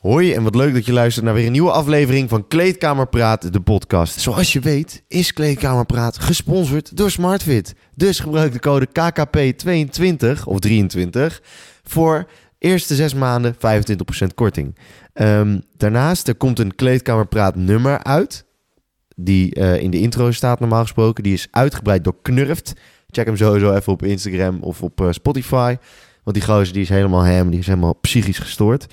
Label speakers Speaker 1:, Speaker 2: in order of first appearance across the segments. Speaker 1: Hoi en wat leuk dat je luistert naar weer een nieuwe aflevering van Kleedkamerpraat, de podcast. Zoals je weet is Kleedkamerpraat gesponsord door SmartFit. Dus gebruik de code KKP22 of 23 voor eerste zes maanden 25% korting. Ehm, daarnaast er komt een Kleedkamerpraat nummer uit, die eh, in de intro staat normaal gesproken. Die is uitgebreid door Knurft. Check hem sowieso even op Instagram of op eh, Spotify. Want die gozer die is helemaal hem, die is helemaal psychisch gestoord.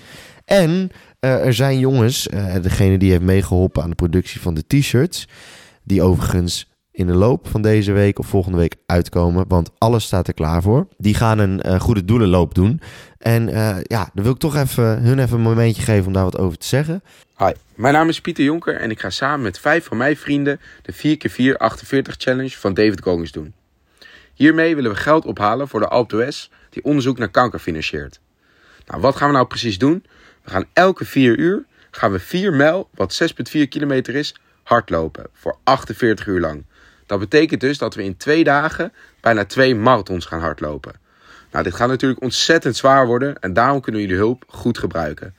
Speaker 1: En eh, er zijn jongens, eh, degene die heeft meegeholpen aan de productie van de t-shirts, die overigens in de loop van deze week of volgende week uitkomen, want alles staat er klaar voor. Die gaan een eh, goede doelenloop doen. En eh, ja, dan wil ik toch even hun even een momentje geven om daar wat over te zeggen.
Speaker 2: Hi, mijn naam is Pieter Jonker en ik ga samen met vijf van mijn vrienden de 4x4 48 Challenge van David Konings doen. Hiermee willen we geld ophalen voor de Alpe d'Huez die onderzoek naar kanker financiert. Nou, wat gaan we nou precies doen? We gaan elke 4 uur gaan we 4 mijl, wat 6,4 kilometer is, hardlopen voor 48 uur lang. Dat betekent dus dat we in twee dagen bijna twee marathons gaan hardlopen. Nou, dit gaat natuurlijk ontzettend zwaar worden en daarom kunnen we jullie hulp goed gebruiken.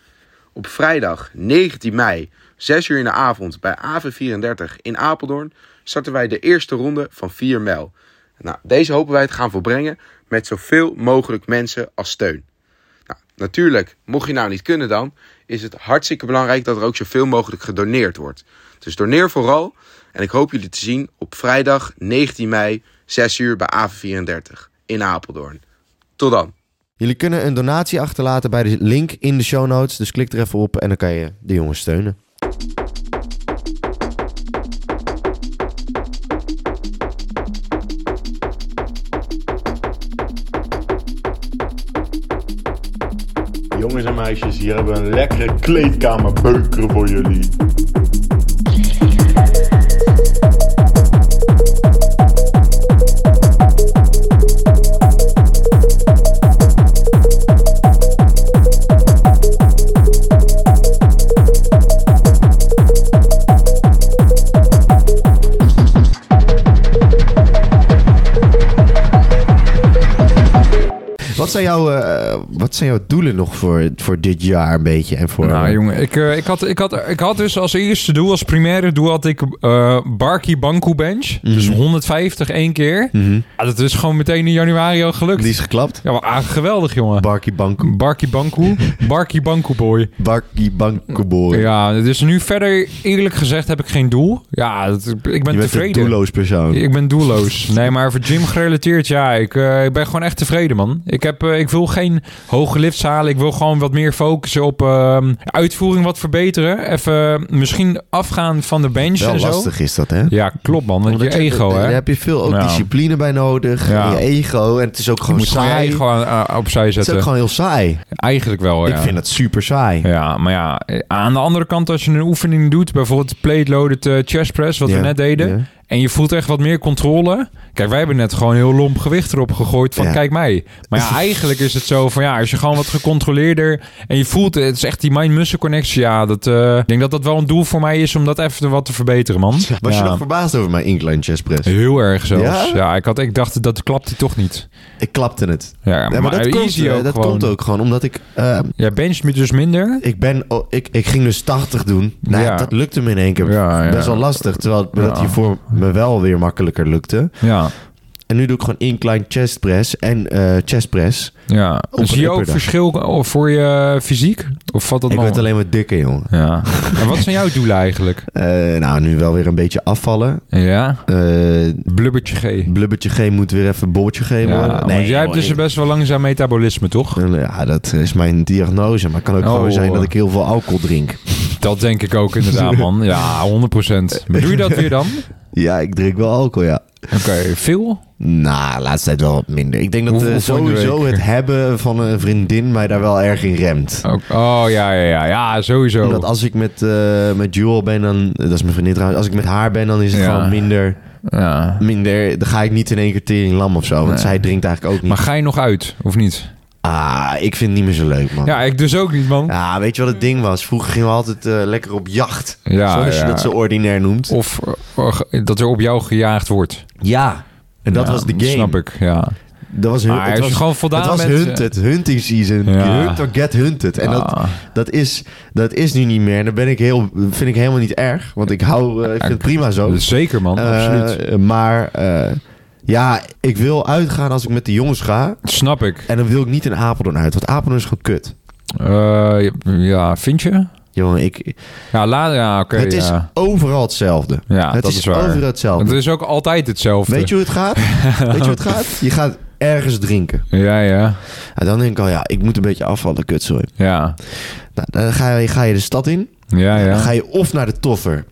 Speaker 2: Op vrijdag 19 mei, 6 uur in de avond bij AV34 in Apeldoorn, starten wij de eerste ronde van 4 mijl. Nou, deze hopen wij te gaan volbrengen met zoveel mogelijk mensen als steun. Nou, natuurlijk, mocht je nou niet kunnen dan, is het hartstikke belangrijk dat er ook zoveel mogelijk gedoneerd wordt. Dus doneer vooral en ik hoop jullie te zien op vrijdag 19 mei, 6 uur bij AV34 in Apeldoorn. Tot dan!
Speaker 1: Jullie kunnen een donatie achterlaten bij de link in de show notes. Dus klik er even op en dan kan je de jongens steunen.
Speaker 3: Jongens en meisjes, hier hebben we een lekkere kleedkamerbeuker voor jullie.
Speaker 1: Wat zijn, jouw, eh, wat zijn jouw doelen nog voor, voor dit jaar een beetje? En voor,
Speaker 4: Nou jongen, ik, eh, ik, had, ik, had, ik had dus als eerste doel, als primaire doel had ik eh Barkie Banku Bench. Dus 150 één keer.
Speaker 1: Mhm.
Speaker 4: Ja, dat is gewoon meteen in januari al gelukt.
Speaker 1: Die is geklapt.
Speaker 4: Ja, maar ah, geweldig jongen.
Speaker 1: Barkie Banku.
Speaker 4: Barkie Banku. Barkie Banku boy.
Speaker 1: Barkie Bankuboy.
Speaker 4: Ja, dus nu verder eerlijk gezegd heb ik geen doel. Ja, dat- ik ben
Speaker 1: je bent een
Speaker 4: tevreden.
Speaker 1: doelloos persoon.
Speaker 4: Ik ben doelloos. Nee, maar voor gym gerelateerd, ja. Ik, eh, ik ben gewoon echt tevreden, man. Ik, heb, eh, ik wil geen hoge lifts halen. Ik wil gewoon wat meer focussen op ehm, uitvoering wat verbeteren. Even eh, misschien afgaan van de bench
Speaker 1: Wel
Speaker 4: en zo.
Speaker 1: lastig is dat, hè?
Speaker 4: Ja, klopt, man. Want je
Speaker 1: Omdat
Speaker 4: ego, hè.
Speaker 1: Daar
Speaker 4: Je
Speaker 1: heb je veel ook
Speaker 4: Ja.
Speaker 1: discipline bij nodig.
Speaker 4: Ja.
Speaker 1: En je ego. En het is ook gewoon
Speaker 4: moet gewoon je
Speaker 1: saai.
Speaker 4: ego aan- aan- opzij
Speaker 1: het is
Speaker 4: zetten.
Speaker 1: ook gewoon heel saai.
Speaker 4: Eigenlijk wel, ja.
Speaker 1: Ik vind dat super saai.
Speaker 4: Ja, maar ja, eh, aan de andere kant, als je een oefening doet, bijvoorbeeld plate loaded eh, chest press, wat
Speaker 1: Ja,
Speaker 4: we net deden,
Speaker 1: ja.
Speaker 4: en je voelt echt wat meer controle. Kijk, wij hebben net gewoon heel lomp gewicht erop gegooid van
Speaker 1: Ja.
Speaker 4: kijk mij. Maar ja, eigenlijk is het zo van ja, als je gewoon wat gecontroleerder en je voelt, het is echt die mind-muscle connectie, ja, dat, eh, ik denk dat dat wel een doel voor mij is om dat even wat te verbeteren, man.
Speaker 1: Was
Speaker 4: Ja.
Speaker 1: je nog verbaasd over mijn incline chest press?
Speaker 4: Heel erg zelfs. Ja?
Speaker 1: Ja?
Speaker 4: ik, had, ik dacht, dat klapt hij toch niet.
Speaker 1: Ik klapte het.
Speaker 4: Ja,
Speaker 1: Ja, maar, dat, komt,
Speaker 4: easy
Speaker 1: eh,
Speaker 4: ook
Speaker 1: dat
Speaker 4: gewoon.
Speaker 1: komt ook gewoon omdat ik... eh,
Speaker 4: Jij bencht me dus minder.
Speaker 1: ik, ben, oh, ik, ik ging dus 80 doen. Nou,
Speaker 4: Ja.
Speaker 1: Dat lukte me in één keer.
Speaker 4: Ja, ja.
Speaker 1: Best wel lastig. Terwijl het-
Speaker 4: Ja.
Speaker 1: dat hiervoor me wel weer makkelijker lukte.
Speaker 4: Ja.
Speaker 1: En nu doe ik gewoon incline chest press en eh, chest press.
Speaker 4: Ja,
Speaker 1: een
Speaker 4: zie je ook
Speaker 1: upperdag.
Speaker 4: verschil of voor je fysiek? Of valt dat
Speaker 1: ik
Speaker 4: nog?
Speaker 1: werd alleen maar dikker, jongen.
Speaker 4: Ja. en wat zijn jouw doelen eigenlijk?
Speaker 1: Eh, nou, nu wel weer een beetje afvallen.
Speaker 4: Ja,
Speaker 1: Eh,
Speaker 4: blubbertje G.
Speaker 1: blubbertje G moet weer even een bolletje G
Speaker 4: Ja,
Speaker 1: worden.
Speaker 4: want jij hebt dus
Speaker 1: joh,
Speaker 4: een best wel langzaam metabolisme, toch?
Speaker 1: ik- ja, dat is mijn diagnose. Maar het kan ook
Speaker 4: Oh.
Speaker 1: gewoon zijn dat ik heel veel alcohol drink.
Speaker 4: Dat denk ik ook inderdaad, man. Ja, 100%. Maar doe je dat weer dan?
Speaker 1: Ja, ik drink wel alcohol, ja.
Speaker 4: Oké, veel?
Speaker 1: Nou, laatste tijd wel wat minder. Ik denk dat
Speaker 4: Hoeveel
Speaker 1: eh,
Speaker 4: van de
Speaker 1: sowieso
Speaker 4: week?
Speaker 1: het hebben van een vriendin mij daar wel erg in remt.
Speaker 4: Ook- Oh, ja, ja, ja. Ja, sowieso.
Speaker 1: Omdat als ik met, eh, met Jewel ben, dan... Dat is mijn vriendin trouwens. Als ik met haar ben, dan is het
Speaker 4: Ja.
Speaker 1: gewoon minder...
Speaker 4: Ja.
Speaker 1: minder dan ga ik niet in één keer tering lam of zo. Want
Speaker 4: Nee.
Speaker 1: zij drinkt eigenlijk ook niet.
Speaker 4: Maar ga je nog uit, of niet?
Speaker 1: Ah, ik vind het niet meer zo leuk, man. Ja.
Speaker 4: Ja, ik dus ook niet, man.
Speaker 1: weet je wat het ding was? Vroeger gingen we altijd eh, lekker op jacht.
Speaker 4: Ja,
Speaker 1: zoals
Speaker 4: ja.
Speaker 1: je dat zo ordinair noemt.
Speaker 4: Of eh, eh, dat er op jou gejaagd wordt.
Speaker 1: Ja. En dat
Speaker 4: Ja,
Speaker 1: was de game.
Speaker 4: Snap ik, ja.
Speaker 1: Dat was hun,
Speaker 4: Maar
Speaker 1: het
Speaker 4: als
Speaker 1: was,
Speaker 4: je gewoon voldaan
Speaker 1: het was
Speaker 4: bent, eh,
Speaker 1: hunted, hunting season.
Speaker 4: Ja.
Speaker 1: Hunt or get hunted. En dat,
Speaker 4: Ah.
Speaker 1: dat, is, dat is nu niet meer. En dat ben ik heel, vind ik helemaal niet erg. Want ik, hou, eh, ik vind het prima zo.
Speaker 4: Zeker, man. absoluut.
Speaker 1: Eh, maar eh, ja, ik wil uitgaan als ik met de jongens ga.
Speaker 4: Snap ik.
Speaker 1: En dan wil ik niet in Apeldoorn uit. Want Apeldoorn is gewoon kut.
Speaker 4: Eh, ja, vind je?
Speaker 1: Jongen, ik,
Speaker 4: Ja, la, ja oké.
Speaker 1: het is
Speaker 4: ja.
Speaker 1: overal hetzelfde.
Speaker 4: Ja,
Speaker 1: het
Speaker 4: dat
Speaker 1: is,
Speaker 4: is waar.
Speaker 1: overal hetzelfde.
Speaker 4: Het is ook altijd hetzelfde.
Speaker 1: Weet je hoe het gaat? Weet je hoe het gaat? Je gaat ergens drinken.
Speaker 4: Ja, ja.
Speaker 1: En dan denk ik al, ja, ik moet een beetje afvallen, kutzooi.
Speaker 4: Ja,
Speaker 1: Nou, dan ga je, ga je de stad in.
Speaker 4: ja,
Speaker 1: Dan
Speaker 4: ja.
Speaker 1: ga je of naar de Toffer,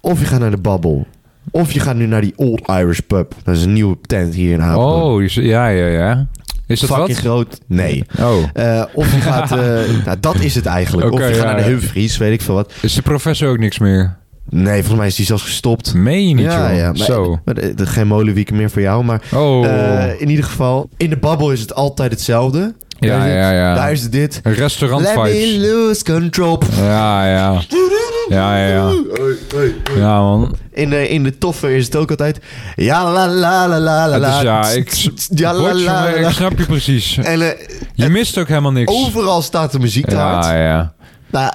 Speaker 1: of je gaat naar de Babbel. Of je gaat nu naar die Old Irish Pub. Dat is een nieuwe tent hier in Apeldoorn.
Speaker 4: Oh, is- ja, ja, ja. Is dat
Speaker 1: Fucking
Speaker 4: wat?
Speaker 1: groot. Nee.
Speaker 4: Oh,
Speaker 1: Eh, of je gaat... eh, nou, dat is het eigenlijk.
Speaker 4: Oké,
Speaker 1: of je gaat
Speaker 4: ja,
Speaker 1: naar de
Speaker 4: ja.
Speaker 1: Humphries, weet ik veel wat.
Speaker 4: is de professor ook niks meer?
Speaker 1: Nee, volgens mij is die zelfs gestopt.
Speaker 4: Meen je niet,
Speaker 1: ja,
Speaker 4: joh.
Speaker 1: ja. Maar,
Speaker 4: Zo.
Speaker 1: maar, eh, geen molenwieken meer voor jou, maar...
Speaker 4: Oh,
Speaker 1: Eh, in ieder geval, in de babbel is het altijd hetzelfde.
Speaker 4: Ja,
Speaker 1: daar is het,
Speaker 4: ja, ja.
Speaker 1: Daar is het dit.
Speaker 4: restaurant
Speaker 1: Let me
Speaker 4: vibes.
Speaker 1: lose control.
Speaker 4: Ja, ja. Ja, ja, ja. Ja, man.
Speaker 1: In de, in de toffer is het ook altijd... Ja, la, la, la, la, la,
Speaker 4: Het is, ja,
Speaker 1: la.
Speaker 4: ik,
Speaker 1: Ja, la,
Speaker 4: Botje,
Speaker 1: la,
Speaker 4: maar
Speaker 1: la, la.
Speaker 4: ik snap je precies.
Speaker 1: En eh,
Speaker 4: Je mist ook helemaal niks.
Speaker 1: overal staat de muziek te hard.
Speaker 4: Ja, ja.
Speaker 1: Nou,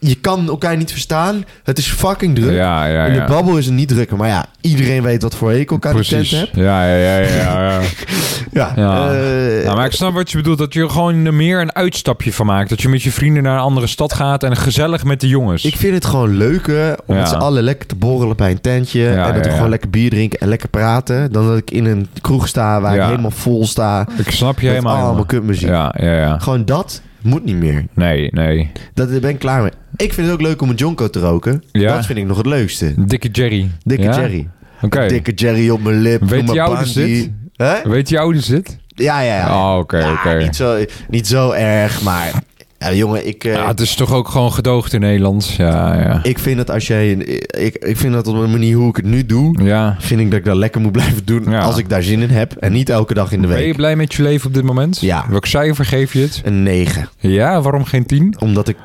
Speaker 1: je kan elkaar niet verstaan. Het is fucking druk.
Speaker 4: Ja, ja,
Speaker 1: In de
Speaker 4: ja.
Speaker 1: babbel is het niet drukker. Maar ja, iedereen weet wat voor hekel ik aan die
Speaker 4: Precies.
Speaker 1: tent heb.
Speaker 4: Ja, ja, ja, ja. ja.
Speaker 1: Ja,
Speaker 4: Ja.
Speaker 1: eh,
Speaker 4: Ja, maar ik snap wat je bedoelt. Dat je er gewoon er meer een uitstapje van maakt. Dat je met je vrienden naar een andere stad gaat en gezellig met de jongens.
Speaker 1: Ik vind het gewoon leuker om
Speaker 4: Ja.
Speaker 1: met z'n allen lekker te borrelen bij een tentje. en dat
Speaker 4: ja,
Speaker 1: we
Speaker 4: ja.
Speaker 1: gewoon lekker bier drinken en lekker praten. Dan dat ik in een kroeg sta waar ik
Speaker 4: Ja.
Speaker 1: helemaal vol sta.
Speaker 4: Ik snap je
Speaker 1: met
Speaker 4: helemaal.
Speaker 1: allemaal
Speaker 4: jongen.
Speaker 1: kutmuziek.
Speaker 4: Ja, ja, ja.
Speaker 1: Gewoon dat moet niet meer.
Speaker 4: Nee, nee.
Speaker 1: Dat, daar ben ik klaar mee. Ik vind het ook leuk om een jonko te roken.
Speaker 4: Ja.
Speaker 1: Dat vind ik nog het leukste.
Speaker 4: Dikke Jerry.
Speaker 1: Dikke
Speaker 4: Ja?
Speaker 1: Jerry.
Speaker 4: Oké.
Speaker 1: Dikke Jerry op mijn lip.
Speaker 4: Weet
Speaker 1: op mijn
Speaker 4: die ouders
Speaker 1: panty.
Speaker 4: dit?
Speaker 1: Hè?
Speaker 4: Weet je hoe ouders dit?
Speaker 1: Ja, ja, ja.
Speaker 4: Oh, oké,
Speaker 1: Ja,
Speaker 4: oké.
Speaker 1: Niet, zo, niet zo erg, maar... Ja, jongen, ik... eh,
Speaker 4: Ja, het is toch ook gewoon gedoogd in Nederland. Ja, ja.
Speaker 1: ik vind dat als jij... een- Ik, ik vind dat op een manier hoe ik het nu doe...
Speaker 4: Ja.
Speaker 1: vind ik dat ik dat lekker moet blijven doen
Speaker 4: Ja.
Speaker 1: als ik daar zin in heb. En niet elke dag in de
Speaker 4: Ben je
Speaker 1: week.
Speaker 4: blij met je leven op dit moment?
Speaker 1: Ja.
Speaker 4: Welk cijfer geef je het?
Speaker 1: Een 9.
Speaker 4: Ja, waarom geen 10?
Speaker 1: Omdat ik,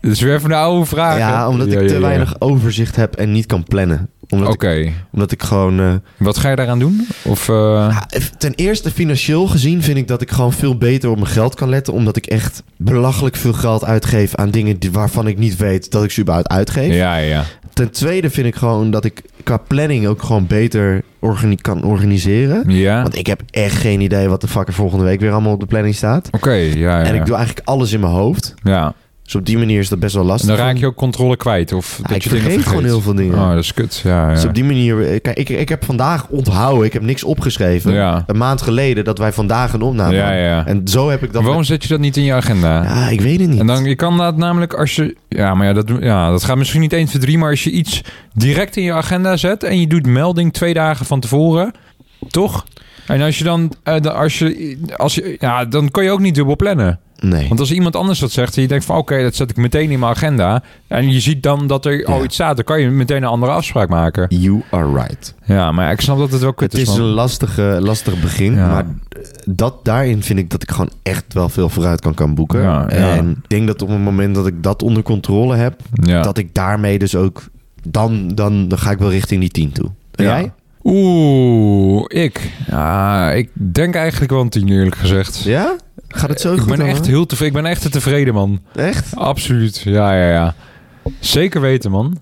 Speaker 4: Dat is weer even een oude vraag. hè?
Speaker 1: ja, omdat
Speaker 4: Ja,
Speaker 1: ik
Speaker 4: ja,
Speaker 1: te
Speaker 4: ja.
Speaker 1: weinig overzicht heb en niet kan plannen. Omdat,
Speaker 4: Oké.
Speaker 1: ik, omdat ik gewoon... eh,
Speaker 4: Wat ga je daaraan doen? Of, eh,
Speaker 1: ja, ten eerste financieel gezien vind ik dat ik gewoon veel beter op mijn geld kan letten. Omdat ik echt belachelijk veel geld uitgeef aan dingen die- waarvan ik niet weet dat ik ze überhaupt uitgeef.
Speaker 4: ja, ja.
Speaker 1: Ten tweede vind ik gewoon dat ik qua planning ook gewoon beter organi- kan organiseren.
Speaker 4: Ja.
Speaker 1: Want ik heb echt geen idee wat de fuck er volgende week weer allemaal op de planning staat.
Speaker 4: Oké, ja, ja.
Speaker 1: En ik doe eigenlijk alles in mijn hoofd.
Speaker 4: ja.
Speaker 1: Dus op die manier is dat best wel
Speaker 4: En
Speaker 1: lastig.
Speaker 4: dan raak je ook controle kwijt. Of
Speaker 1: Ja,
Speaker 4: dat
Speaker 1: ik
Speaker 4: je dingen
Speaker 1: vergeet gewoon heel veel dingen.
Speaker 4: Oh, dat is kut. Ja, ja.
Speaker 1: Dus op die manier... eh, Kijk, ik, ik heb vandaag onthouden. Ik heb niks opgeschreven.
Speaker 4: Ja.
Speaker 1: Een maand geleden dat wij vandaag een opname
Speaker 4: ja,
Speaker 1: hadden.
Speaker 4: ja.
Speaker 1: En zo heb ik dat...
Speaker 4: Waarom zet je dat niet in je agenda?
Speaker 1: Ja, ik weet het niet.
Speaker 4: En dan, je kan dat namelijk als je... Ja, maar ja, dat, ja, dat gaat misschien niet 1, 2, 3... maar als je iets direct in je agenda zet... en je doet melding twee dagen van tevoren... toch? En als je dan... eh, dan- als je, als je, ja, dan kan je ook niet dubbel plannen.
Speaker 1: Nee.
Speaker 4: Want als iemand anders dat zegt... en je denkt van oké, dat zet ik meteen in mijn agenda... en je ziet dan dat er al
Speaker 1: Ja.
Speaker 4: iets staat... dan kan je meteen een andere afspraak maken.
Speaker 1: You are right.
Speaker 4: Ja, maar ik snap dat het wel kut
Speaker 1: Het
Speaker 4: is.
Speaker 1: is
Speaker 4: man.
Speaker 1: een lastige, lastig begin.
Speaker 4: Ja.
Speaker 1: Maar eh, dat, daarin vind ik dat ik gewoon echt wel veel vooruit kan, kan boeken.
Speaker 4: Ja, ja.
Speaker 1: En ik denk dat op het moment dat ik dat onder controle heb...
Speaker 4: ja.
Speaker 1: dat ik daarmee dus ook... Dan, dan, dan ga ik wel richting die 10 toe. En
Speaker 4: Ja.
Speaker 1: jij?
Speaker 4: Oeh, ik. Ja, ik denk eigenlijk wel een tien eerlijk gezegd.
Speaker 1: Ja? Gaat het zo
Speaker 4: ik
Speaker 1: goed
Speaker 4: ben
Speaker 1: dan,
Speaker 4: echt
Speaker 1: hoor?
Speaker 4: heel tevreden. Ik ben echt te tevreden, man.
Speaker 1: Echt?
Speaker 4: Absoluut. Ja, ja, ja. Zeker weten, man.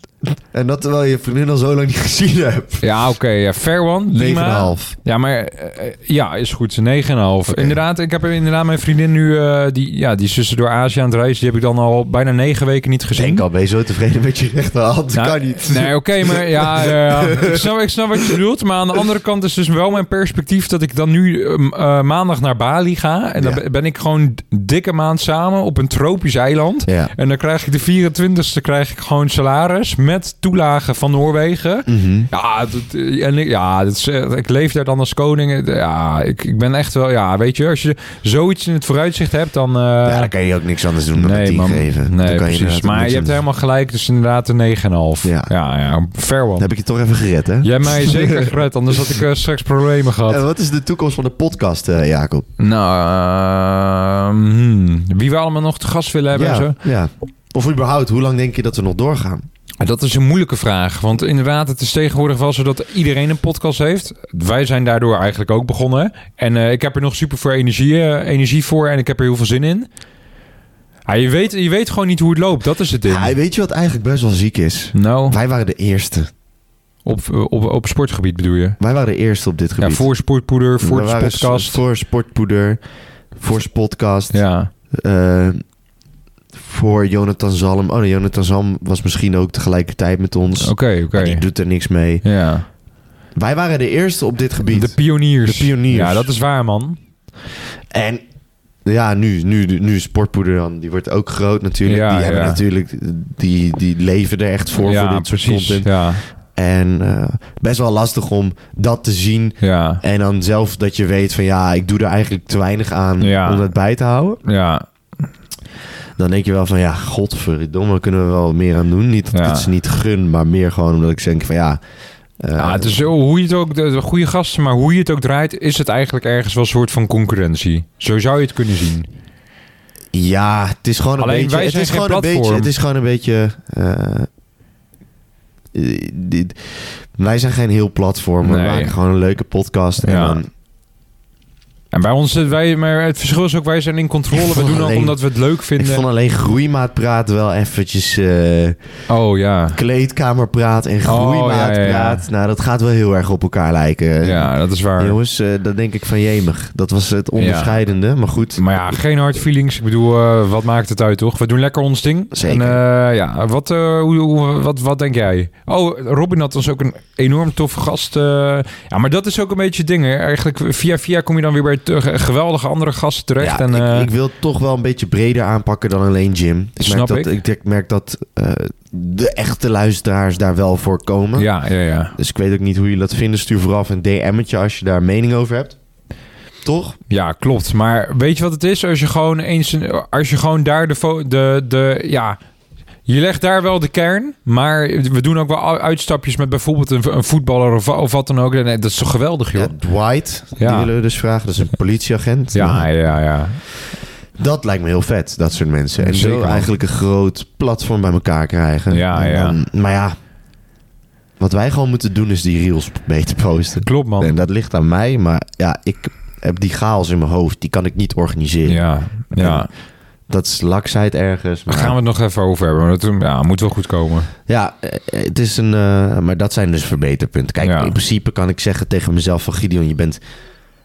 Speaker 1: En dat terwijl je vriendin al zo lang niet gezien hebt.
Speaker 4: Ja, oké. ja, fair one. Prima.
Speaker 1: 9,5.
Speaker 4: Ja, maar eh, ja, is goed. 9,5.
Speaker 1: Oké.
Speaker 4: Inderdaad, ik heb inderdaad mijn vriendin nu... eh, die, ja, die is tussendoor Azië aan het reizen. Die heb ik dan al bijna negen weken niet gezien.
Speaker 1: Denk al, ben je zo tevreden met je rechterhand? Dat
Speaker 4: Nou,
Speaker 1: kan niet.
Speaker 4: Nee, oké, maar ja, ja, ja. Ik, snap, ik snap wat je bedoelt. Maar aan de andere kant is dus wel mijn perspectief dat ik dan nu eh, m- eh, maandag naar Bali ga. En dan
Speaker 1: Ja.
Speaker 4: ben- ben ik gewoon d- dikke maand samen op een tropisch eiland.
Speaker 1: Ja.
Speaker 4: En dan krijg ik de 24ste krijg ik gewoon salaris met toelagen van Noorwegen.
Speaker 1: Mhm.
Speaker 4: Ja, dat, eh, en ik, ja dat is, eh, ik leef daar dan als koning. Eh, Ja, ik, ik ben echt wel... Ja, weet je, als je zoiets in het vooruitzicht hebt, dan... eh,
Speaker 1: ja, dan kan je ook niks anders doen dan een 10
Speaker 4: man.
Speaker 1: geven. Dan kan
Speaker 4: Nee,
Speaker 1: je
Speaker 4: precies.
Speaker 1: inderdaad ook
Speaker 4: Maar
Speaker 1: niks
Speaker 4: je
Speaker 1: anders
Speaker 4: hebt helemaal gelijk. Dus inderdaad een 9,5.
Speaker 1: Ja.
Speaker 4: Ja. ja, Fair
Speaker 1: doen.
Speaker 4: one.
Speaker 1: Dan heb ik je toch even gered, hè?
Speaker 4: Jij hebt mij zeker gered, anders had ik eh, straks problemen gehad.
Speaker 1: En wat is de toekomst van de podcast, eh, Jacob?
Speaker 4: nou, ehm, hmm. wie we allemaal nog te gast willen hebben en
Speaker 1: ja,
Speaker 4: zo.
Speaker 1: ja. Of überhaupt, hoe lang denk je dat we nog doorgaan?
Speaker 4: Dat is een moeilijke vraag. Want inderdaad, het is tegenwoordig wel zo dat iedereen een podcast heeft. Wij zijn daardoor eigenlijk ook begonnen. En eh, ik heb er nog super veel energie, eh, energie voor en ik heb er heel veel zin in. Ah, je, weet, je weet gewoon niet hoe het loopt. Dat is het ding.
Speaker 1: Ja, weet je wat eigenlijk best wel ziek is?
Speaker 4: Nou,
Speaker 1: Wij waren de eerste.
Speaker 4: op, op, op sportgebied bedoel je?
Speaker 1: Wij waren de eerste op dit
Speaker 4: Ja,
Speaker 1: gebied.
Speaker 4: voor sportpoeder, voor
Speaker 1: We
Speaker 4: de
Speaker 1: waren
Speaker 4: podcast.
Speaker 1: Voor Sportpoeder, voor Spotcast,
Speaker 4: Ja.
Speaker 1: eh, voor Jonathan Zalm. Oh nee, Jonathan Zalm was misschien ook tegelijkertijd met ons.
Speaker 4: Oké, oké.
Speaker 1: Maar die doet er niks mee.
Speaker 4: Ja.
Speaker 1: Wij waren de eerste op dit gebied.
Speaker 4: De pioniers.
Speaker 1: De pioniers.
Speaker 4: Ja, dat is waar, man.
Speaker 1: En ja, nu, nu, nu is Sportpoeder dan. Die wordt ook groot natuurlijk.
Speaker 4: Ja,
Speaker 1: die hebben
Speaker 4: ja.
Speaker 1: natuurlijk, die, die leven er echt voor,
Speaker 4: ja,
Speaker 1: voor dit soort
Speaker 4: precies.
Speaker 1: content.
Speaker 4: Ja,
Speaker 1: En eh, best wel lastig om dat te zien.
Speaker 4: ja,
Speaker 1: En dan zelf dat je weet van ja, ik doe er eigenlijk te weinig aan
Speaker 4: Ja.
Speaker 1: om dat bij te houden.
Speaker 4: ja.
Speaker 1: Dan denk je wel van ja, godverdomme, kunnen we wel meer aan doen. Niet dat ik
Speaker 4: Ja.
Speaker 1: het ze niet gun, maar meer gewoon omdat ik denk van ja... eh,
Speaker 4: ja, Ah, het is zo, hoe je het ook, de, de goede gasten, maar hoe je het ook draait, is het eigenlijk ergens wel een soort van concurrentie. Zo zou je het kunnen zien.
Speaker 1: ja, het is gewoon een
Speaker 4: Alleen
Speaker 1: beetje...
Speaker 4: wij
Speaker 1: het,
Speaker 4: zijn
Speaker 1: is
Speaker 4: geen
Speaker 1: gewoon een beetje
Speaker 4: platform.
Speaker 1: het is gewoon een beetje... eh, eh, dit- wij zijn geen heel platform. We
Speaker 4: Nee.
Speaker 1: maken gewoon een leuke podcast. En
Speaker 4: Ja.
Speaker 1: dan,
Speaker 4: En bij ons, eh, wij, maar het verschil is ook, wij zijn in controle.
Speaker 1: Ik
Speaker 4: We
Speaker 1: vond
Speaker 4: doen dat
Speaker 1: alleen-
Speaker 4: omdat we het leuk
Speaker 1: ik
Speaker 4: vinden.
Speaker 1: vond alleen groeimaat praten wel eventjes... eh,
Speaker 4: Oh ja.
Speaker 1: kleedkamerpraat en groeimaatpraat.
Speaker 4: Oh, ja, ja,
Speaker 1: Nou, dat gaat wel heel erg op elkaar lijken.
Speaker 4: Ja, dat is waar.
Speaker 1: Jongens, eh dat denk ik van jemig. Dat was het onderscheidende, maar goed.
Speaker 4: Maar ja, geen hard feelings. Ik bedoel, eh, wat maakt het uit, toch? We doen lekker ons ding.
Speaker 1: Zeker.
Speaker 4: En, eh, ja, wat, eh, hoe, hoe- wat, wat denk jij? Oh, Robin had ons ook een enorm toffe gast. eh. ja, maar dat is ook een beetje het ding. hè. Eigenlijk via via kom je dan weer bij te- geweldige andere gasten
Speaker 1: Ja,
Speaker 4: terecht. en,
Speaker 1: ik-
Speaker 4: eh,
Speaker 1: ik, wil het toch wel een beetje breder aanpakken dan alleen Jim. Ik merk
Speaker 4: Snap
Speaker 1: dat,
Speaker 4: ik.
Speaker 1: ik. denk- merk dat eh, de echte luisteraars daar wel voor komen.
Speaker 4: ja, ja, ja.
Speaker 1: Dus ik weet ook niet hoe jullie dat vinden. Stuur vooraf een DM'tje als je daar mening over hebt. Toch?
Speaker 4: Ja, klopt. Maar weet je wat het is? Als je gewoon eens een- als je gewoon daar de, fo- de, de ja, je legt daar wel de kern, maar we doen ook wel u- uitstapjes met bijvoorbeeld een, een voetballer of, of wat dan ook. Nee, dat is toch geweldig, joh.
Speaker 1: Ja, Eh, Dwight, die
Speaker 4: Ja.
Speaker 1: willen we dus vragen. Dat is een politieagent.
Speaker 4: Ja,
Speaker 1: Nou,
Speaker 4: ja, ja.
Speaker 1: Dat lijkt me heel vet, dat soort mensen. En
Speaker 4: Zeker
Speaker 1: zo
Speaker 4: wel.
Speaker 1: eigenlijk een groot platform bij elkaar krijgen.
Speaker 4: Ja,
Speaker 1: En dan- maar ja, wat wij gewoon moeten doen is die reels beter posten.
Speaker 4: Klopt, man.
Speaker 1: En dat ligt aan mij, maar ja, ik heb die chaos in mijn hoofd. Die kan ik niet organiseren.
Speaker 4: Ja, ja.
Speaker 1: Dat is laksheid ergens.
Speaker 4: Daar
Speaker 1: Maar
Speaker 4: gaan we het nog even over hebben. Maar dat ja, moet wel goed komen.
Speaker 1: Ja, eh, het is een... eh, maar dat zijn dus verbeterpunten. Kijk,
Speaker 4: Ja.
Speaker 1: in principe kan ik zeggen tegen mezelf van... Gideon, je bent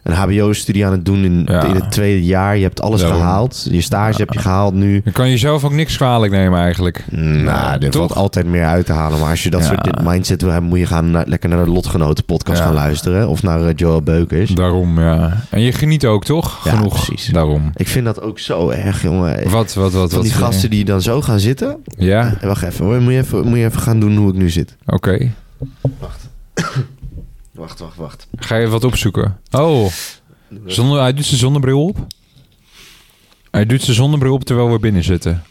Speaker 1: een hbo-studie aan het doen in,
Speaker 4: Ja.
Speaker 1: in het tweede jaar. Je hebt alles
Speaker 4: Daarom.
Speaker 1: gehaald. Je stage heb je gehaald nu.
Speaker 4: Je kan jezelf ook niks kwalijk nemen eigenlijk.
Speaker 1: Nou, er
Speaker 4: Toch?
Speaker 1: valt altijd meer uit te halen. Maar als je dat
Speaker 4: Ja.
Speaker 1: soort dit mindset wil hebben... moet je gaan naar- lekker naar de Lotgenoten podcast
Speaker 4: Ja.
Speaker 1: gaan luisteren. Of naar eh, Joel Beukers.
Speaker 4: Daarom, ja. En je geniet ook, toch?
Speaker 1: Ja,
Speaker 4: Genoeg.
Speaker 1: precies.
Speaker 4: Daarom.
Speaker 1: Ik vind dat ook zo erg, jongen.
Speaker 4: Wat, wat, wat, wat?
Speaker 1: Van die
Speaker 4: vind je?
Speaker 1: gasten die dan zo gaan zitten.
Speaker 4: Ja,
Speaker 1: Eh, Wacht even, hoor. Moet je even, moet je even gaan doen hoe ik nu zit.
Speaker 4: oké.
Speaker 1: Wacht, wacht, wacht.
Speaker 4: Ga je wat opzoeken? Oh, Zonne- hij doet zijn zonnebril op. Hij doet zijn zonnebril op terwijl we binnen zitten.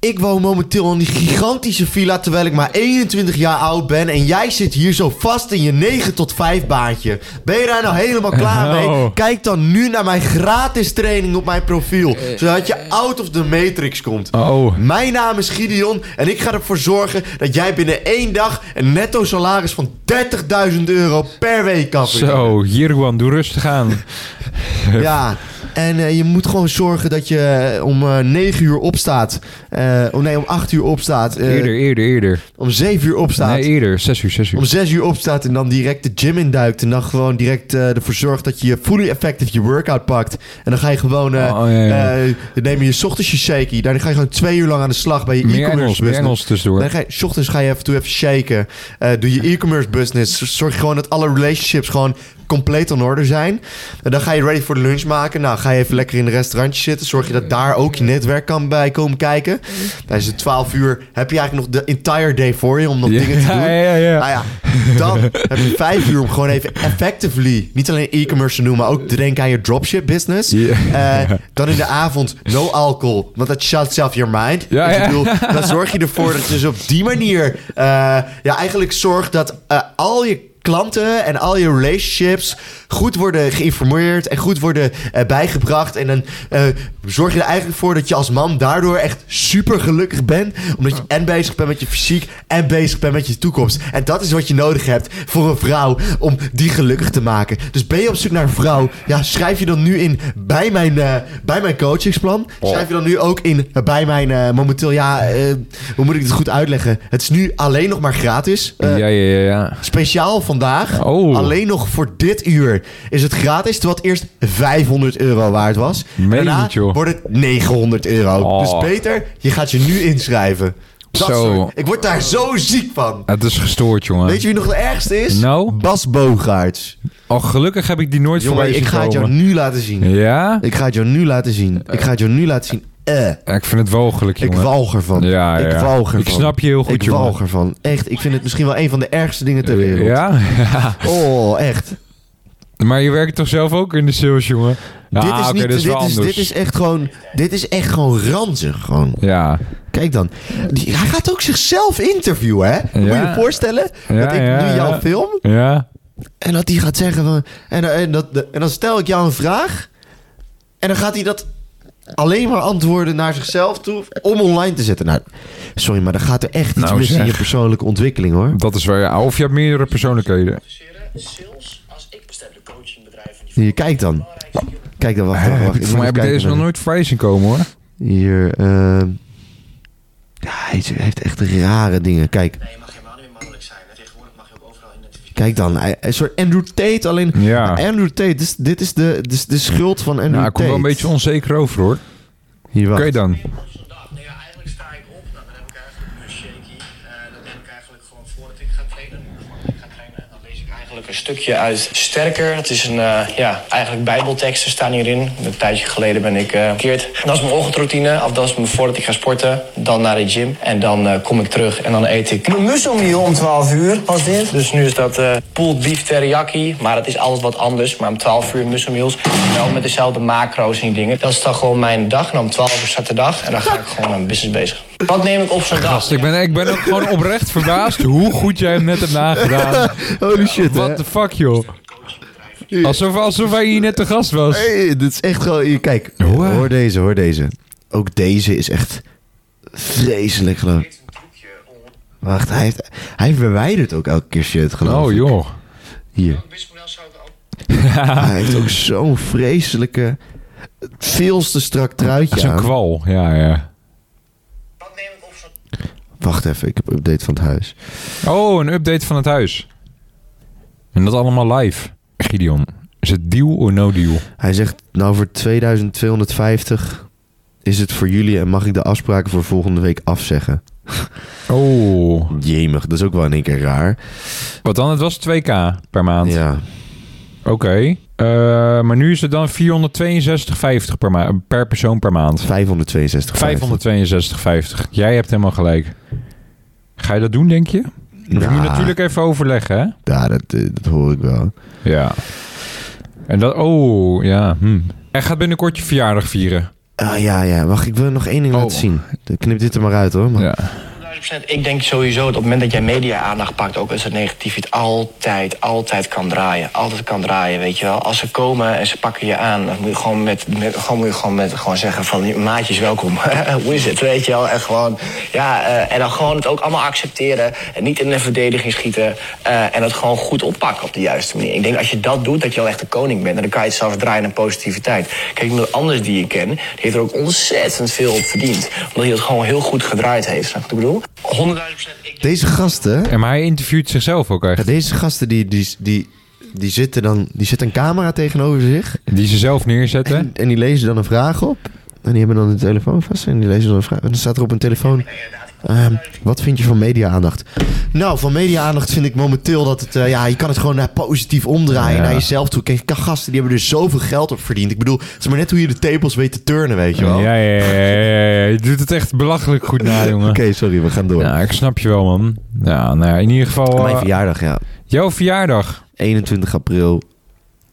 Speaker 1: Ik woon momenteel in die gigantische villa terwijl ik maar 21 jaar oud ben. En jij zit hier zo vast in je 9 tot 5 baantje. Ben je daar nou helemaal klaar mee?
Speaker 4: Oh.
Speaker 1: Kijk dan nu naar mijn gratis training op mijn profiel. Zodat je out of the matrix komt.
Speaker 4: Oh,
Speaker 1: Mijn naam is Gideon en ik ga ervoor zorgen dat jij binnen één dag een netto salaris van 30.000 euro per week kan verdienen.
Speaker 4: zo. Jirwan, doe rustig aan.
Speaker 1: Eh, Ja, en eh, je moet gewoon zorgen dat je eh, om eh, 9 uur opstaat. Eh oh nee, om 8 uur opstaat. eh,
Speaker 4: Eerder, eerder, eerder.
Speaker 1: om 7 uur opstaat.
Speaker 4: Nee, eerder. Zes uur, zes
Speaker 1: om
Speaker 4: uur.
Speaker 1: 6 uur opstaat en dan direct de gym induikt. En dan gewoon direct eh, ervoor zorgt dat je je fully effective je workout pakt. En dan ga je gewoon. eh,
Speaker 4: Oh, ja, ja.
Speaker 1: eh, dan neem je je ochtends je shaky. Dan ga je gewoon twee uur lang aan de slag bij je
Speaker 4: Meer
Speaker 1: e-commerce
Speaker 4: Engels, meer
Speaker 1: business.
Speaker 4: Engels tussendoor.
Speaker 1: Dan ga je, 's ochtends ga je even, doe even shaken. Eh, doe je e-commerce business. Zorg gewoon dat alle relationships gewoon compleet on order zijn. En dan ga je ready voor de lunch maken. Nou, ga je even lekker in een restaurantje zitten. Zorg je dat daar ook je netwerk kan bij komen kijken. Tijdens de 12 uur heb je eigenlijk nog de entire day voor je om nog
Speaker 4: Ja,
Speaker 1: dingen te doen.
Speaker 4: ja, ja, ja.
Speaker 1: Nou ja, dan heb je 5 uur om gewoon even effectively, niet alleen e-commerce te doen, maar ook te denken aan je dropship business.
Speaker 4: Ja.
Speaker 1: Eh, dan in de avond no alcohol, want dat shuts off your mind.
Speaker 4: Ja,
Speaker 1: Dus ik
Speaker 4: ja.
Speaker 1: bedoel, dan zorg je ervoor dat je dus op die manier eh, ja, eigenlijk zorgt dat eh, al je klanten en al je relationships goed worden geïnformeerd en goed worden eh, bijgebracht. En dan eh, zorg je er eigenlijk voor dat je als man daardoor echt super gelukkig bent. Omdat je en bezig bent met je fysiek en bezig bent met je toekomst. En dat is wat je nodig hebt voor een vrouw om die gelukkig te maken. Dus ben je op zoek naar een vrouw? Ja, schrijf je dan nu in bij mijn, eh, bij mijn coachingsplan. Schrijf je dan nu ook in bij mijn eh, momenteel. Ja, eh, hoe moet ik dit goed uitleggen? Het is nu alleen nog maar gratis. Eh,
Speaker 4: ja, ja, ja.
Speaker 1: Speciaal vandaag,
Speaker 4: Oh.
Speaker 1: alleen nog voor dit uur, is het gratis. Terwijl het eerst 500 euro waard was. En
Speaker 4: Meen
Speaker 1: Daarna
Speaker 4: niet, joh.
Speaker 1: wordt het 900 euro.
Speaker 4: Oh.
Speaker 1: Dus beter, je gaat je nu inschrijven. Dat
Speaker 4: Zo.
Speaker 1: soort. Ik word daar zo ziek van.
Speaker 4: Het Ah, is gestoord, jongen.
Speaker 1: Weet je wie nog de ergste is?
Speaker 4: Nou?
Speaker 1: Bas Bogaerts.
Speaker 4: Oh, gelukkig heb ik die nooit
Speaker 1: Jongen,
Speaker 4: voorbij
Speaker 1: ik
Speaker 4: zien
Speaker 1: ga het jou
Speaker 4: komen.
Speaker 1: nu laten zien.
Speaker 4: Ja?
Speaker 1: Ik ga het jou nu laten zien. Ik ga het jou nu laten zien. Eh.
Speaker 4: Ja, Ik vind het walgelijk,
Speaker 1: Ik
Speaker 4: jongen.
Speaker 1: walg ervan.
Speaker 4: Ja, ja.
Speaker 1: Ik walg ervan.
Speaker 4: Ik snap je heel goed,
Speaker 1: Ik
Speaker 4: jongen.
Speaker 1: walg ervan. Echt, ik vind het misschien wel een van de ergste dingen ter wereld.
Speaker 4: Ja? ja?
Speaker 1: Oh, echt.
Speaker 4: Maar je werkt toch zelf ook in de sales, jongen? Ja,
Speaker 1: dit is
Speaker 4: Ah, oké,
Speaker 1: niet,
Speaker 4: dat is
Speaker 1: dit,
Speaker 4: wel
Speaker 1: is,
Speaker 4: anders.
Speaker 1: dit is echt gewoon, dit is echt gewoon ranzig gewoon.
Speaker 4: Ja.
Speaker 1: Kijk dan, Die- hij gaat ook zichzelf interviewen, hè? Moet je
Speaker 4: Ja.
Speaker 1: je voorstellen
Speaker 4: Ja,
Speaker 1: dat ik
Speaker 4: ja,
Speaker 1: nu
Speaker 4: ja.
Speaker 1: jou film
Speaker 4: Ja?
Speaker 1: en dat hij gaat zeggen van, en, en, dat, en dan stel ik jou een vraag en dan gaat hij dat alleen maar antwoorden naar zichzelf toe om online te zetten. Nou, sorry, maar dan gaat er echt iets
Speaker 4: Nou,
Speaker 1: mis in
Speaker 4: zeg.
Speaker 1: je persoonlijke ontwikkeling, hoor.
Speaker 4: Dat is waar. Ja. Of je hebt meerdere persoonlijkheden.
Speaker 5: sales als ik bestemde coachingbedrijven. Die
Speaker 1: Hier, kijk dan. Kijk dan, wacht, wacht, wacht.
Speaker 4: Heb ik,
Speaker 1: Ik
Speaker 4: voor mij
Speaker 1: moet
Speaker 4: heb ik
Speaker 1: even
Speaker 4: deze nog
Speaker 1: kijken.
Speaker 4: nooit voorbij zien komen, hoor.
Speaker 1: Hier, ehm ja, hij is- hij heeft echt rare dingen. Kijk,
Speaker 5: Nee, je mag helemaal niet meer mannelijk zijn. hè. Tegenwoordig mag je ook overal identificeren.
Speaker 1: kijk dan. Hij, een soort Andrew Tate alleen.
Speaker 4: Ja.
Speaker 1: Andrew Tate, dit, is- dit is de, de, de schuld van Andrew
Speaker 4: Nou, ik
Speaker 1: Tate.
Speaker 4: kom wel een beetje onzeker over, hoor.
Speaker 1: Hier, wacht.
Speaker 4: Oké dan.
Speaker 5: Op dag. Nee, Nou ja, eigenlijk sta ik op. Nou, dan heb ik eigenlijk een shaky. Eh, dat neem ik eigenlijk gewoon voordat ik ga trainen. Voordat ik ga trainen, dan lees ik eigenlijk een stukje uit Sterker. Dat is een, eh, ja, eigenlijk bijbelteksten staan hierin. Een tijdje geleden ben ik eh, verkeerd. dat is mijn ochtendroutine. Of dat is mijn voordat ik ga sporten. Dan naar de gym. En dan eh, kom ik terug en dan eet ik. Mijn musselmeal om 12 uur was dit. Dus nu is dat eh pulled beef teriyaki. Maar dat is alles wat anders. Maar om 12 uur musselmeals. Wel met dezelfde macro's en die dingen. Dat is dan gewoon mijn dag. En om 12 uur start de dag. En dan ga ik gewoon aan business bezig. Wat neem ik op zo'n dag?
Speaker 4: Ik ben, ik ben ook gewoon oprecht verbaasd hoe goed jij hem net hebt nagedaan.
Speaker 1: Holy shit, hè?
Speaker 4: What the fuck, joh. Alsof, alsof hij hier net de gast was.
Speaker 1: Hey, dit is echt gewoon... Hier, kijk,
Speaker 4: Wow.
Speaker 1: hoor deze, hoor deze. Ook deze is echt vreselijk, geloof ik. Wacht, hij, heeft, hij verwijdert ook elke keer shit, geloof
Speaker 4: Oh,
Speaker 1: ik.
Speaker 4: joh.
Speaker 1: Hier. Hij heeft ook zo'n vreselijke... Veel te strak truitje
Speaker 4: Zo'n
Speaker 1: aan.
Speaker 4: kwal. Ja, ja.
Speaker 5: Wat neem ik op zo'n
Speaker 1: Wacht even, ik heb een update van het huis.
Speaker 4: Oh, een update van het huis. En dat allemaal live. Gideon, is het deal of no deal?
Speaker 1: Hij zegt, nou voor 2250 is het voor jullie en mag ik de afspraken voor volgende week afzeggen.
Speaker 4: Oh.
Speaker 1: Jemig, dat is ook wel in één keer raar.
Speaker 4: Wat dan? Het was 2k per maand.
Speaker 1: Ja,
Speaker 4: Oké. Eh, maar nu is het dan 462,50 per, ma- per persoon per maand.
Speaker 1: 562.
Speaker 4: 562,50. Jij hebt helemaal gelijk. Ga je dat doen, denk je? Dat moet je
Speaker 1: Ja.
Speaker 4: natuurlijk even overleggen, hè?
Speaker 1: Nou, Ja, dat, eh, dat hoor ik wel.
Speaker 4: Ja. En dat... Oh, ja. Hm. Hij gaat binnenkort je verjaardag vieren.
Speaker 1: Ah ja, ja, wacht, ik wil nog één ding
Speaker 4: Oh.
Speaker 1: laten zien. Dan Knip dit er maar uit hoor. Maar...
Speaker 4: Ja.
Speaker 5: 100%. Ik denk sowieso dat op het moment dat jij media-aandacht pakt, ook als het negatief is, altijd, altijd kan draaien. Altijd kan draaien, weet je wel. Als ze komen en ze pakken je aan, dan moet je gewoon, met, met, gewoon, moet je gewoon, met, gewoon zeggen van maatjes welkom. Hoe is het, weet je wel. En, gewoon, ja, eh, en dan gewoon het ook allemaal accepteren. En niet in de verdediging schieten. eh, en het gewoon goed oppakken op de juiste manier. Ik denk als je dat doet, dat je al echt de koning bent. En dan kan je het zelfs draaien naar positiviteit. Kijk, iemand anders die je ken, die heeft er ook ontzettend veel op verdiend. Omdat hij het gewoon heel goed gedraaid heeft. Snap je wat ik bedoel? 100.000 procent.
Speaker 1: Deze gasten,
Speaker 4: En maar hij interviewt zichzelf ook
Speaker 1: ja,
Speaker 4: echt.
Speaker 1: deze gasten die, die, die, die zitten dan, die zet een camera tegenover zich.
Speaker 4: Die ze zelf neerzetten.
Speaker 1: En, en die lezen dan een vraag op. En die hebben dan de telefoon vast en die lezen dan een vraag. En dan staat er op een telefoon... ehm, wat vind je van media-aandacht? Nou, van media-aandacht vind ik momenteel dat het... eh, ja, je kan het gewoon naar positief omdraaien,
Speaker 4: Ja.
Speaker 1: naar jezelf toe. Kijk, kan gasten, die hebben er zoveel geld op verdiend. Ik bedoel, het is maar net hoe je de tables weet te turnen, weet je wel.
Speaker 4: Ja, ja, ja, ja, ja. Je doet het echt belachelijk goed na, jongen.
Speaker 1: Oké, sorry, we gaan door.
Speaker 4: Ja, ik snap je wel, man. Ja, nou ja, in ieder geval...
Speaker 1: Mijn
Speaker 4: eh,
Speaker 1: verjaardag, ja.
Speaker 4: jouw verjaardag.
Speaker 1: 21 april.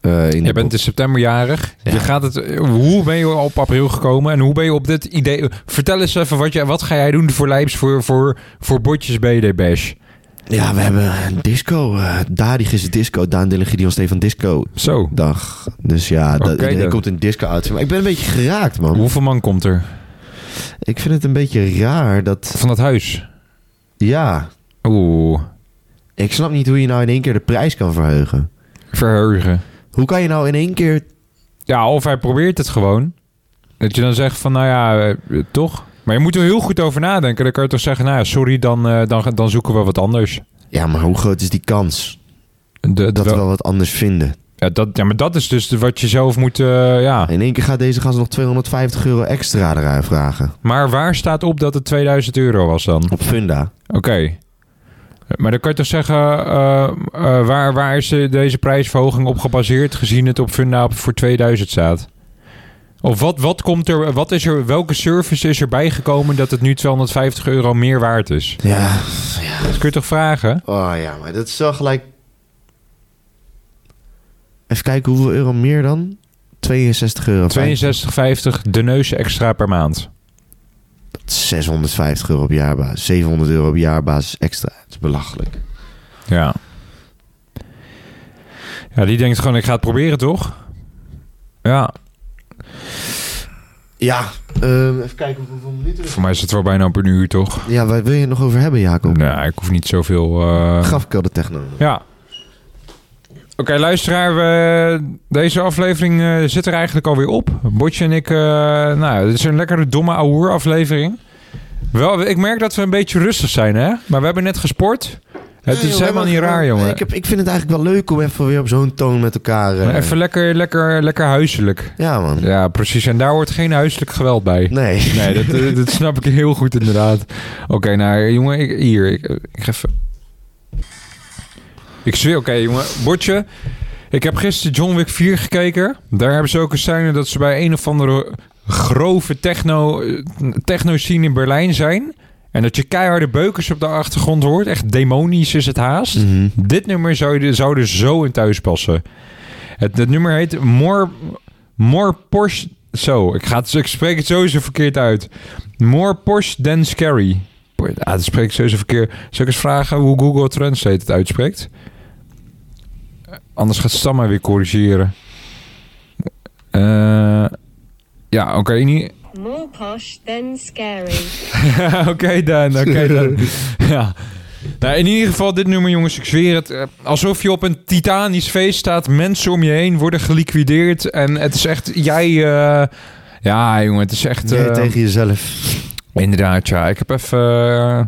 Speaker 1: eh in
Speaker 4: Je
Speaker 1: de
Speaker 4: bent dus- in september jarig. Je gaat het, hoe ben je op april gekomen en hoe ben je op dit idee... Vertel eens even, wat, je, wat ga jij doen voor Lijps voor, voor, voor Botjes BD Bash?
Speaker 1: Ja, we hebben een disco. eh Dadig is het disco. Daan Dillinger, Gideon Stefan Disco
Speaker 4: Zo.
Speaker 1: dag. Dus ja, dat
Speaker 4: Oké
Speaker 1: er
Speaker 4: dan.
Speaker 1: komt een disco uit. Maar ik ben een beetje geraakt, man.
Speaker 4: Hoeveel man komt er
Speaker 1: Ik vind het een beetje raar dat...
Speaker 4: van dat huis?
Speaker 1: Ja,
Speaker 4: Oeh,
Speaker 1: ik snap niet hoe je nou in één keer de prijs kan verheugen.
Speaker 4: verheugen.
Speaker 1: Hoe kan je nou in één keer...
Speaker 4: Ja, of hij probeert het gewoon. Dat je dan zegt van, nou ja, eh, toch? Maar je moet er heel goed over nadenken. Dan kan je toch zeggen, nou ja, sorry, dan, eh, dan, dan zoeken we wat anders.
Speaker 1: Ja, maar hoe groot is die kans
Speaker 4: De-
Speaker 1: dat we
Speaker 4: wel-
Speaker 1: wel wat anders vinden?
Speaker 4: ja, dat, ja, maar dat is dus wat je zelf moet... eh, ja.
Speaker 1: In één keer gaat deze gast nog 250 euro extra eruit vragen.
Speaker 4: Maar waar staat op dat het 2000 euro was dan?
Speaker 1: Op Funda.
Speaker 4: Oké. Maar dan kan je toch zeggen, eh, eh, waar, waar is de- deze prijsverhoging op gebaseerd, gezien het op Funda op- voor 2000 staat? Of wat, wat komt er, wat is er, welke service is er bijgekomen dat het nu 250 euro meer waard is?
Speaker 1: Ja.
Speaker 4: Dat kun je toch vragen?
Speaker 1: Oh ja, maar dat is wel gelijk... Even kijken, hoeveel euro meer dan? 62 euro.
Speaker 4: 62,50 de neus extra per maand.
Speaker 1: 650 euro op jaarbasis. 700 euro op jaarbasis extra. Het is belachelijk.
Speaker 4: Ja. Ja, die denkt gewoon, ik ga het proberen toch? Ja,
Speaker 1: Ja, ehm, even kijken hoeveel minuten we...
Speaker 4: voor mij is het wel bijna op een uur toch?
Speaker 1: Ja, waar wil je het nog over hebben, Jacob?
Speaker 4: Nou, ik hoef niet zoveel... eh,
Speaker 1: Gaf ik al de techno.
Speaker 4: Ja. Oké, luisteraar, we, deze aflevering eh, zit er eigenlijk alweer op. Botje en ik, eh, nou, het is een lekkere domme ouwe aflevering. Wel, ik merk dat we een beetje rustig zijn, hè? Maar we hebben net gesport. Het
Speaker 1: Nee,
Speaker 4: is
Speaker 1: joh,
Speaker 4: helemaal niet
Speaker 1: gewoon-
Speaker 4: raar, jongen.
Speaker 1: Ik, heb, ik vind het eigenlijk wel leuk om even weer op zo'n toon met elkaar... eh,
Speaker 4: Maar Even lekker, lekker, lekker huiselijk.
Speaker 1: Ja, man.
Speaker 4: Ja, precies. En daar hoort geen huiselijk geweld bij.
Speaker 1: Nee.
Speaker 4: Nee, dat, eh, dat snap ik heel goed inderdaad. Oké, nou jongen, ik, hier, ik, ik ga even... Ik zweer, oké jongen, bordje. Ik heb gisteren John Wick 4 gekeken. Daar hebben ze ook een scène dat ze bij een of andere grove techno, eh, techno-scene in Berlijn zijn. En dat je keiharde beukers op de achtergrond hoort. Echt demonisch is het haast.
Speaker 1: Mhm.
Speaker 4: Dit nummer zou, je- zou er zo in thuis passen. Het, het nummer heet More, More Porsche... Zo, ik, ga het, ik spreek het sowieso verkeerd uit. More Porsche Than Scary. Ah, dat spreek ik sowieso verkeerd. Zal ik eens vragen hoe Google Translate het uitspreekt? Anders gaat Stam mij weer corrigeren. Eh, ja, oké. niet-
Speaker 6: More posh than scary.
Speaker 4: oké dan, oké dan. ja. Nou, in ieder geval dit nummer, jongens, ik zweer het. eh, Alsof je op een titanisch feest staat. Mensen om je heen worden geliquideerd. En het is echt, jij... eh, ja, jongen, het is echt...
Speaker 1: Jij
Speaker 4: eh,
Speaker 1: tegen jezelf.
Speaker 4: Inderdaad, ja. Ik heb even... eh,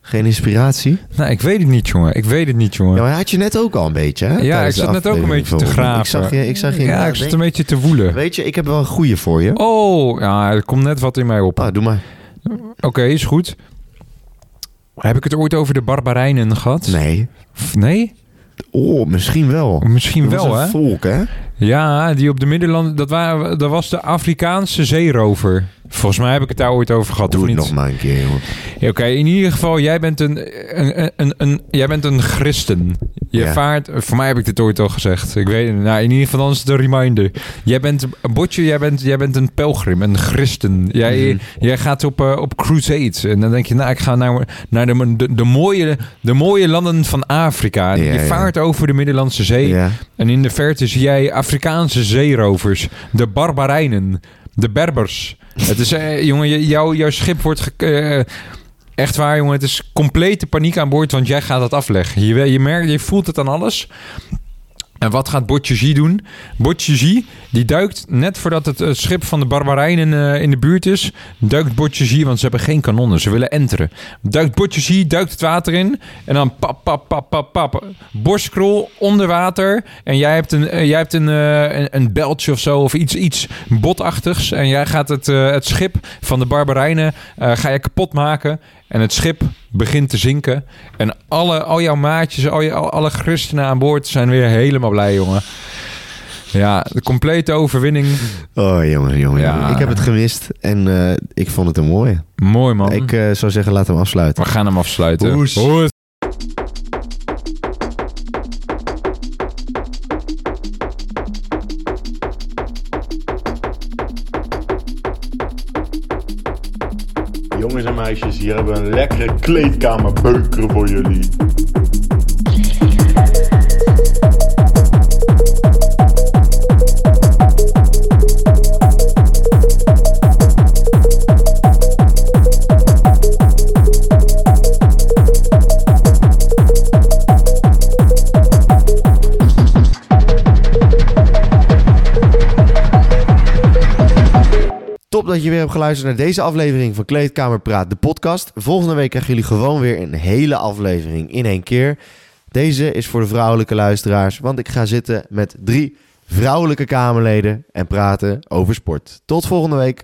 Speaker 1: Geen inspiratie?
Speaker 4: nou, ik weet het niet, jongen. Ik weet het niet, jongen.
Speaker 1: Ja, maar had je net ook al een beetje, hè?
Speaker 4: Ja,
Speaker 1: Tijdens
Speaker 4: ik zat
Speaker 1: de
Speaker 4: net ook een
Speaker 1: aflevering
Speaker 4: beetje te
Speaker 1: van-
Speaker 4: graven.
Speaker 1: Ik zag je... Ik zag je
Speaker 4: Ja, ik zit een beetje te woelen.
Speaker 1: Weet je, ik heb wel een goeie voor je.
Speaker 4: Oh, ja, er komt net wat in mij op.
Speaker 1: Ah, doe maar.
Speaker 4: Oké, is goed. Heb ik het ooit over de Barbarijnen gehad?
Speaker 1: Nee.
Speaker 4: F- Nee?
Speaker 1: Oh, misschien wel.
Speaker 4: Misschien
Speaker 1: Dat was
Speaker 4: wel,
Speaker 1: een
Speaker 4: hè?
Speaker 1: volk, hè?
Speaker 4: Ja, die op de Middelland. Dat, waren, dat was de Afrikaanse zeerover. Volgens mij heb ik het daar ooit over gehad.
Speaker 1: Doe
Speaker 4: of
Speaker 1: het
Speaker 4: niet?
Speaker 1: nog maar een keer, jongen.
Speaker 4: Ja, Oké, in ieder geval, jij bent een, een, een, een, jij bent een christen. Je
Speaker 1: Ja.
Speaker 4: vaart, voor mij heb ik dit ooit al gezegd. Ik weet het. Nou, in ieder geval, dan is het een reminder. Jij bent, Botje, jij bent, jij bent een pelgrim, een christen. Jij,
Speaker 1: Mhm.
Speaker 4: jij gaat op, eh, op crusade. En dan denk je, nou, ik ga naar, naar de, de, de mooie, de mooie landen van Afrika. En
Speaker 1: Ja,
Speaker 4: je
Speaker 1: ja.
Speaker 4: vaart over de Middellandse Zee.
Speaker 1: Ja.
Speaker 4: En in de verte zie jij Afrikaanse zeerovers, de Barbarijnen, de Berbers. Het is, eh, jongen, je- jouw- jouw schip wordt... ge- eh, echt waar, jongen, het is complete paniek aan boord, want jij gaat dat afleggen. Je, je, merkt, je voelt het aan alles. En wat gaat Botjegie doen? Botjegie, die duikt net voordat het eh, schip van de Barbarijnen eh, in de buurt is, duikt Botjegie, want ze hebben geen kanonnen, ze willen enteren. Duikt Botjegie, duikt het water in en dan pap, pap, pap, pap, pap. Borstkrol onder water en jij hebt een, eh, jij hebt een, eh, een, een beltje of zo of iets, iets botachtigs en jij gaat het, eh, het schip van de Barbarijnen eh, ga je kapot maken en het schip begint te zinken. En alle, al jouw maatjes, al je, al- alle christenen aan boord zijn weer helemaal blij, jongen. Ja, de complete overwinning.
Speaker 1: Oh, jongen, jongen.
Speaker 4: Ja.
Speaker 1: jongen. Ik heb het gemist en eh, ik vond het een mooie.
Speaker 4: Mooi, man.
Speaker 1: Ik eh, zou zeggen, laten we afsluiten.
Speaker 4: We gaan hem afsluiten.
Speaker 1: Hoes.
Speaker 4: Mm. Hoes.
Speaker 3: Jongens en meisjes, hier hebben we een lekkere kleedkamerbeuker voor jullie.
Speaker 1: Top dat je weer hebt geluisterd naar deze aflevering van Kleedkamer Praat, de podcast. Volgende week krijgen jullie gewoon weer een hele aflevering in één keer. Deze is voor de vrouwelijke luisteraars, want ik ga zitten met drie vrouwelijke Kamerleden en praten over sport. Tot volgende week.